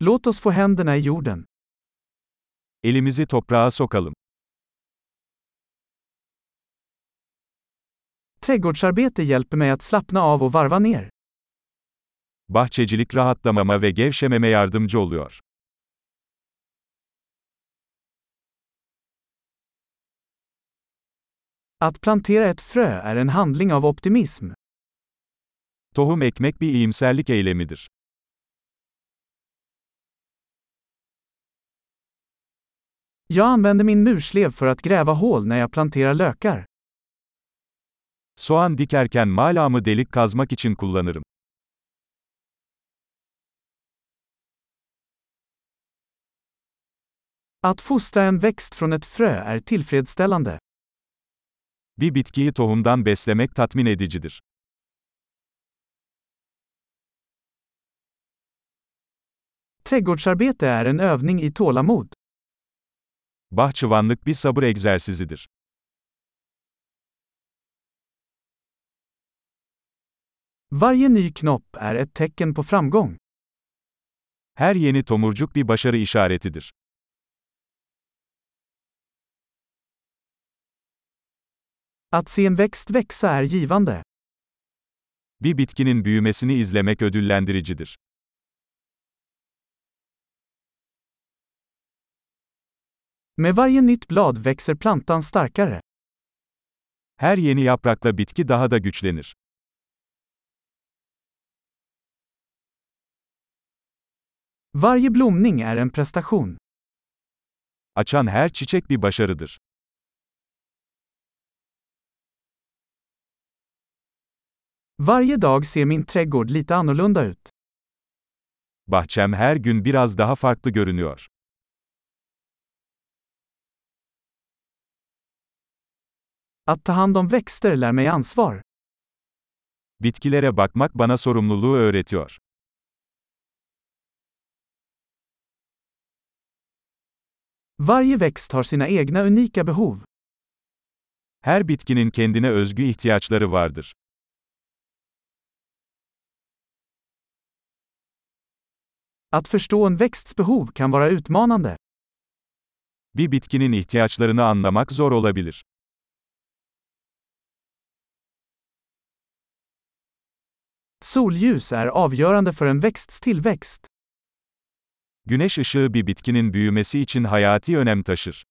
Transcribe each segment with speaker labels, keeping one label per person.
Speaker 1: Låt oss få händerna i jorden.
Speaker 2: Elimizi toprağa sokalım.
Speaker 1: Trädgårdsarbete hjälper mig att slappna av och varva ner.
Speaker 2: Bahçecilik rahatlamama ve gevşememe yardımcı oluyor.
Speaker 1: Att plantera ett frö är en handling av optimism.
Speaker 2: Tohum ekmek bir iyimserlik eylemidir.
Speaker 1: Jag använder min murslev för att gräva hål när jag planterar lökar.
Speaker 2: Soğan dikerken malamı delik kazmak için kullanırım.
Speaker 1: Att fostra en växt från ett frö är tillfredsställande.
Speaker 2: Bir bitkiyi tohumdan beslemek tatmin edicidir.
Speaker 1: Trädgårdsarbete är en övning i tålamod.
Speaker 2: Bahçıvanlık bir sabır egzersizidir.
Speaker 1: Varje ny knopp är ett tecken på framgång.
Speaker 2: Her yeni tomurcuk bir başarı işaretidir.
Speaker 1: Att se en växt växa är givande.
Speaker 2: Bir bitkinin büyümesini izlemek ödüllendiricidir.
Speaker 1: Med varje nytt blad växer plantan starkare.
Speaker 2: Her yeni yaprakla bitki daha da güçlenir.
Speaker 1: Varje blomning är en prestation.
Speaker 2: Açan her çiçek bir başarıdır.
Speaker 1: Varje dag ser min trädgård lite annorlunda ut.
Speaker 2: Bahçem her gün biraz daha farklı görünüyor.
Speaker 1: Att ta hand om växter lär mig ansvar.
Speaker 2: Bitkilere bakmak bana sorumluluğu öğretiyor.
Speaker 1: Varje växt har sina egna unika behov.
Speaker 2: Her bitkinin kendine özgü ihtiyaçları vardır.
Speaker 1: Att förstå en växts behov kan vara utmanande.
Speaker 2: Bir bitkinin ihtiyaçlarını anlamak zor olabilir.
Speaker 1: Solljus är avgörande för en växts tillväxt.
Speaker 2: Güneş ışığı bir bitkinin büyümesi için hayati önem taşır.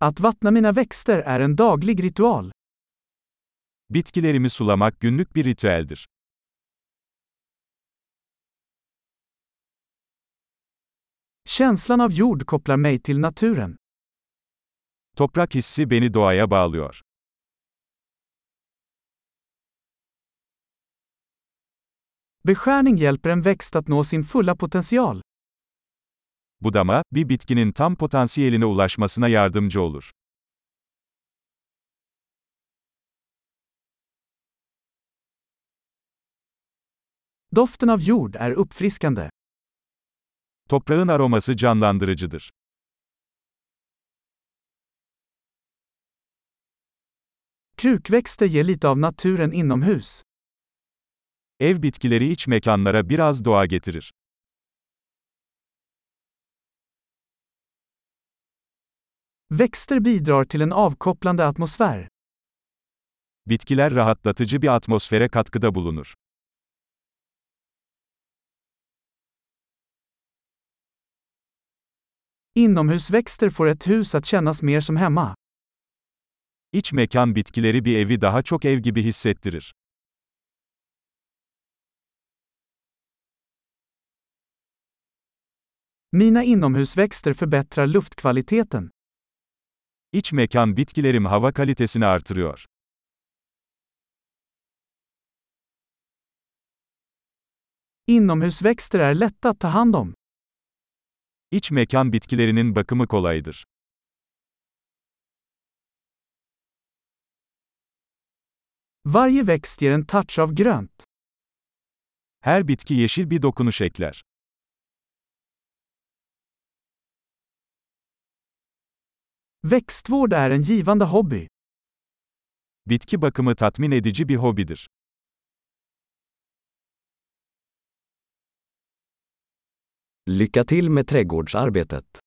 Speaker 1: Att vattna mina växter är en daglig ritual.
Speaker 2: Bitkilerimi sulamak günlük bir ritüeldir.
Speaker 1: Känslan av jord kopplar mig till naturen.
Speaker 2: Toprak hissi beni doğaya bağlıyor.
Speaker 1: Beskärning hjälper en växt att nå sin fulla potential.
Speaker 2: Budama, bir bitkinin tam potansiyeline ulaşmasına yardımcı olur.
Speaker 1: Doften av jord är uppfriskande.
Speaker 2: Toprağın aroması canlandırıcıdır.
Speaker 1: Krukväxter ger lite av naturen inomhus.
Speaker 2: Ev bitkileri iç mekanlara biraz doğa getirir.
Speaker 1: Växter bidrar till en avkopplande atmosfär.
Speaker 2: Bitkiler rahatlatıcı bir atmosfere katkıda bulunur.
Speaker 1: Inomhusväxter får ett hus att kännas mer som hemma.
Speaker 2: İç mekan bitkileri bir evi daha çok ev gibi hissettirir.
Speaker 1: Mina inomhusväxter förbättrar luftkvaliteten.
Speaker 2: İç mekan bitkilerim hava kalitesini artırıyor.
Speaker 1: Inomhusväxter är lätta att ta hand om.
Speaker 2: İç mekan bitkilerinin bakımı kolaydır.
Speaker 1: Varje växt ger en touch av grönt.
Speaker 2: Her bitki yeşil bir dokunuş ekler.
Speaker 1: Växtvård är en givande hobby.
Speaker 2: Bitki bakımı tatmin edici bir hobidir.
Speaker 3: Lycka till med trädgårdsarbetet.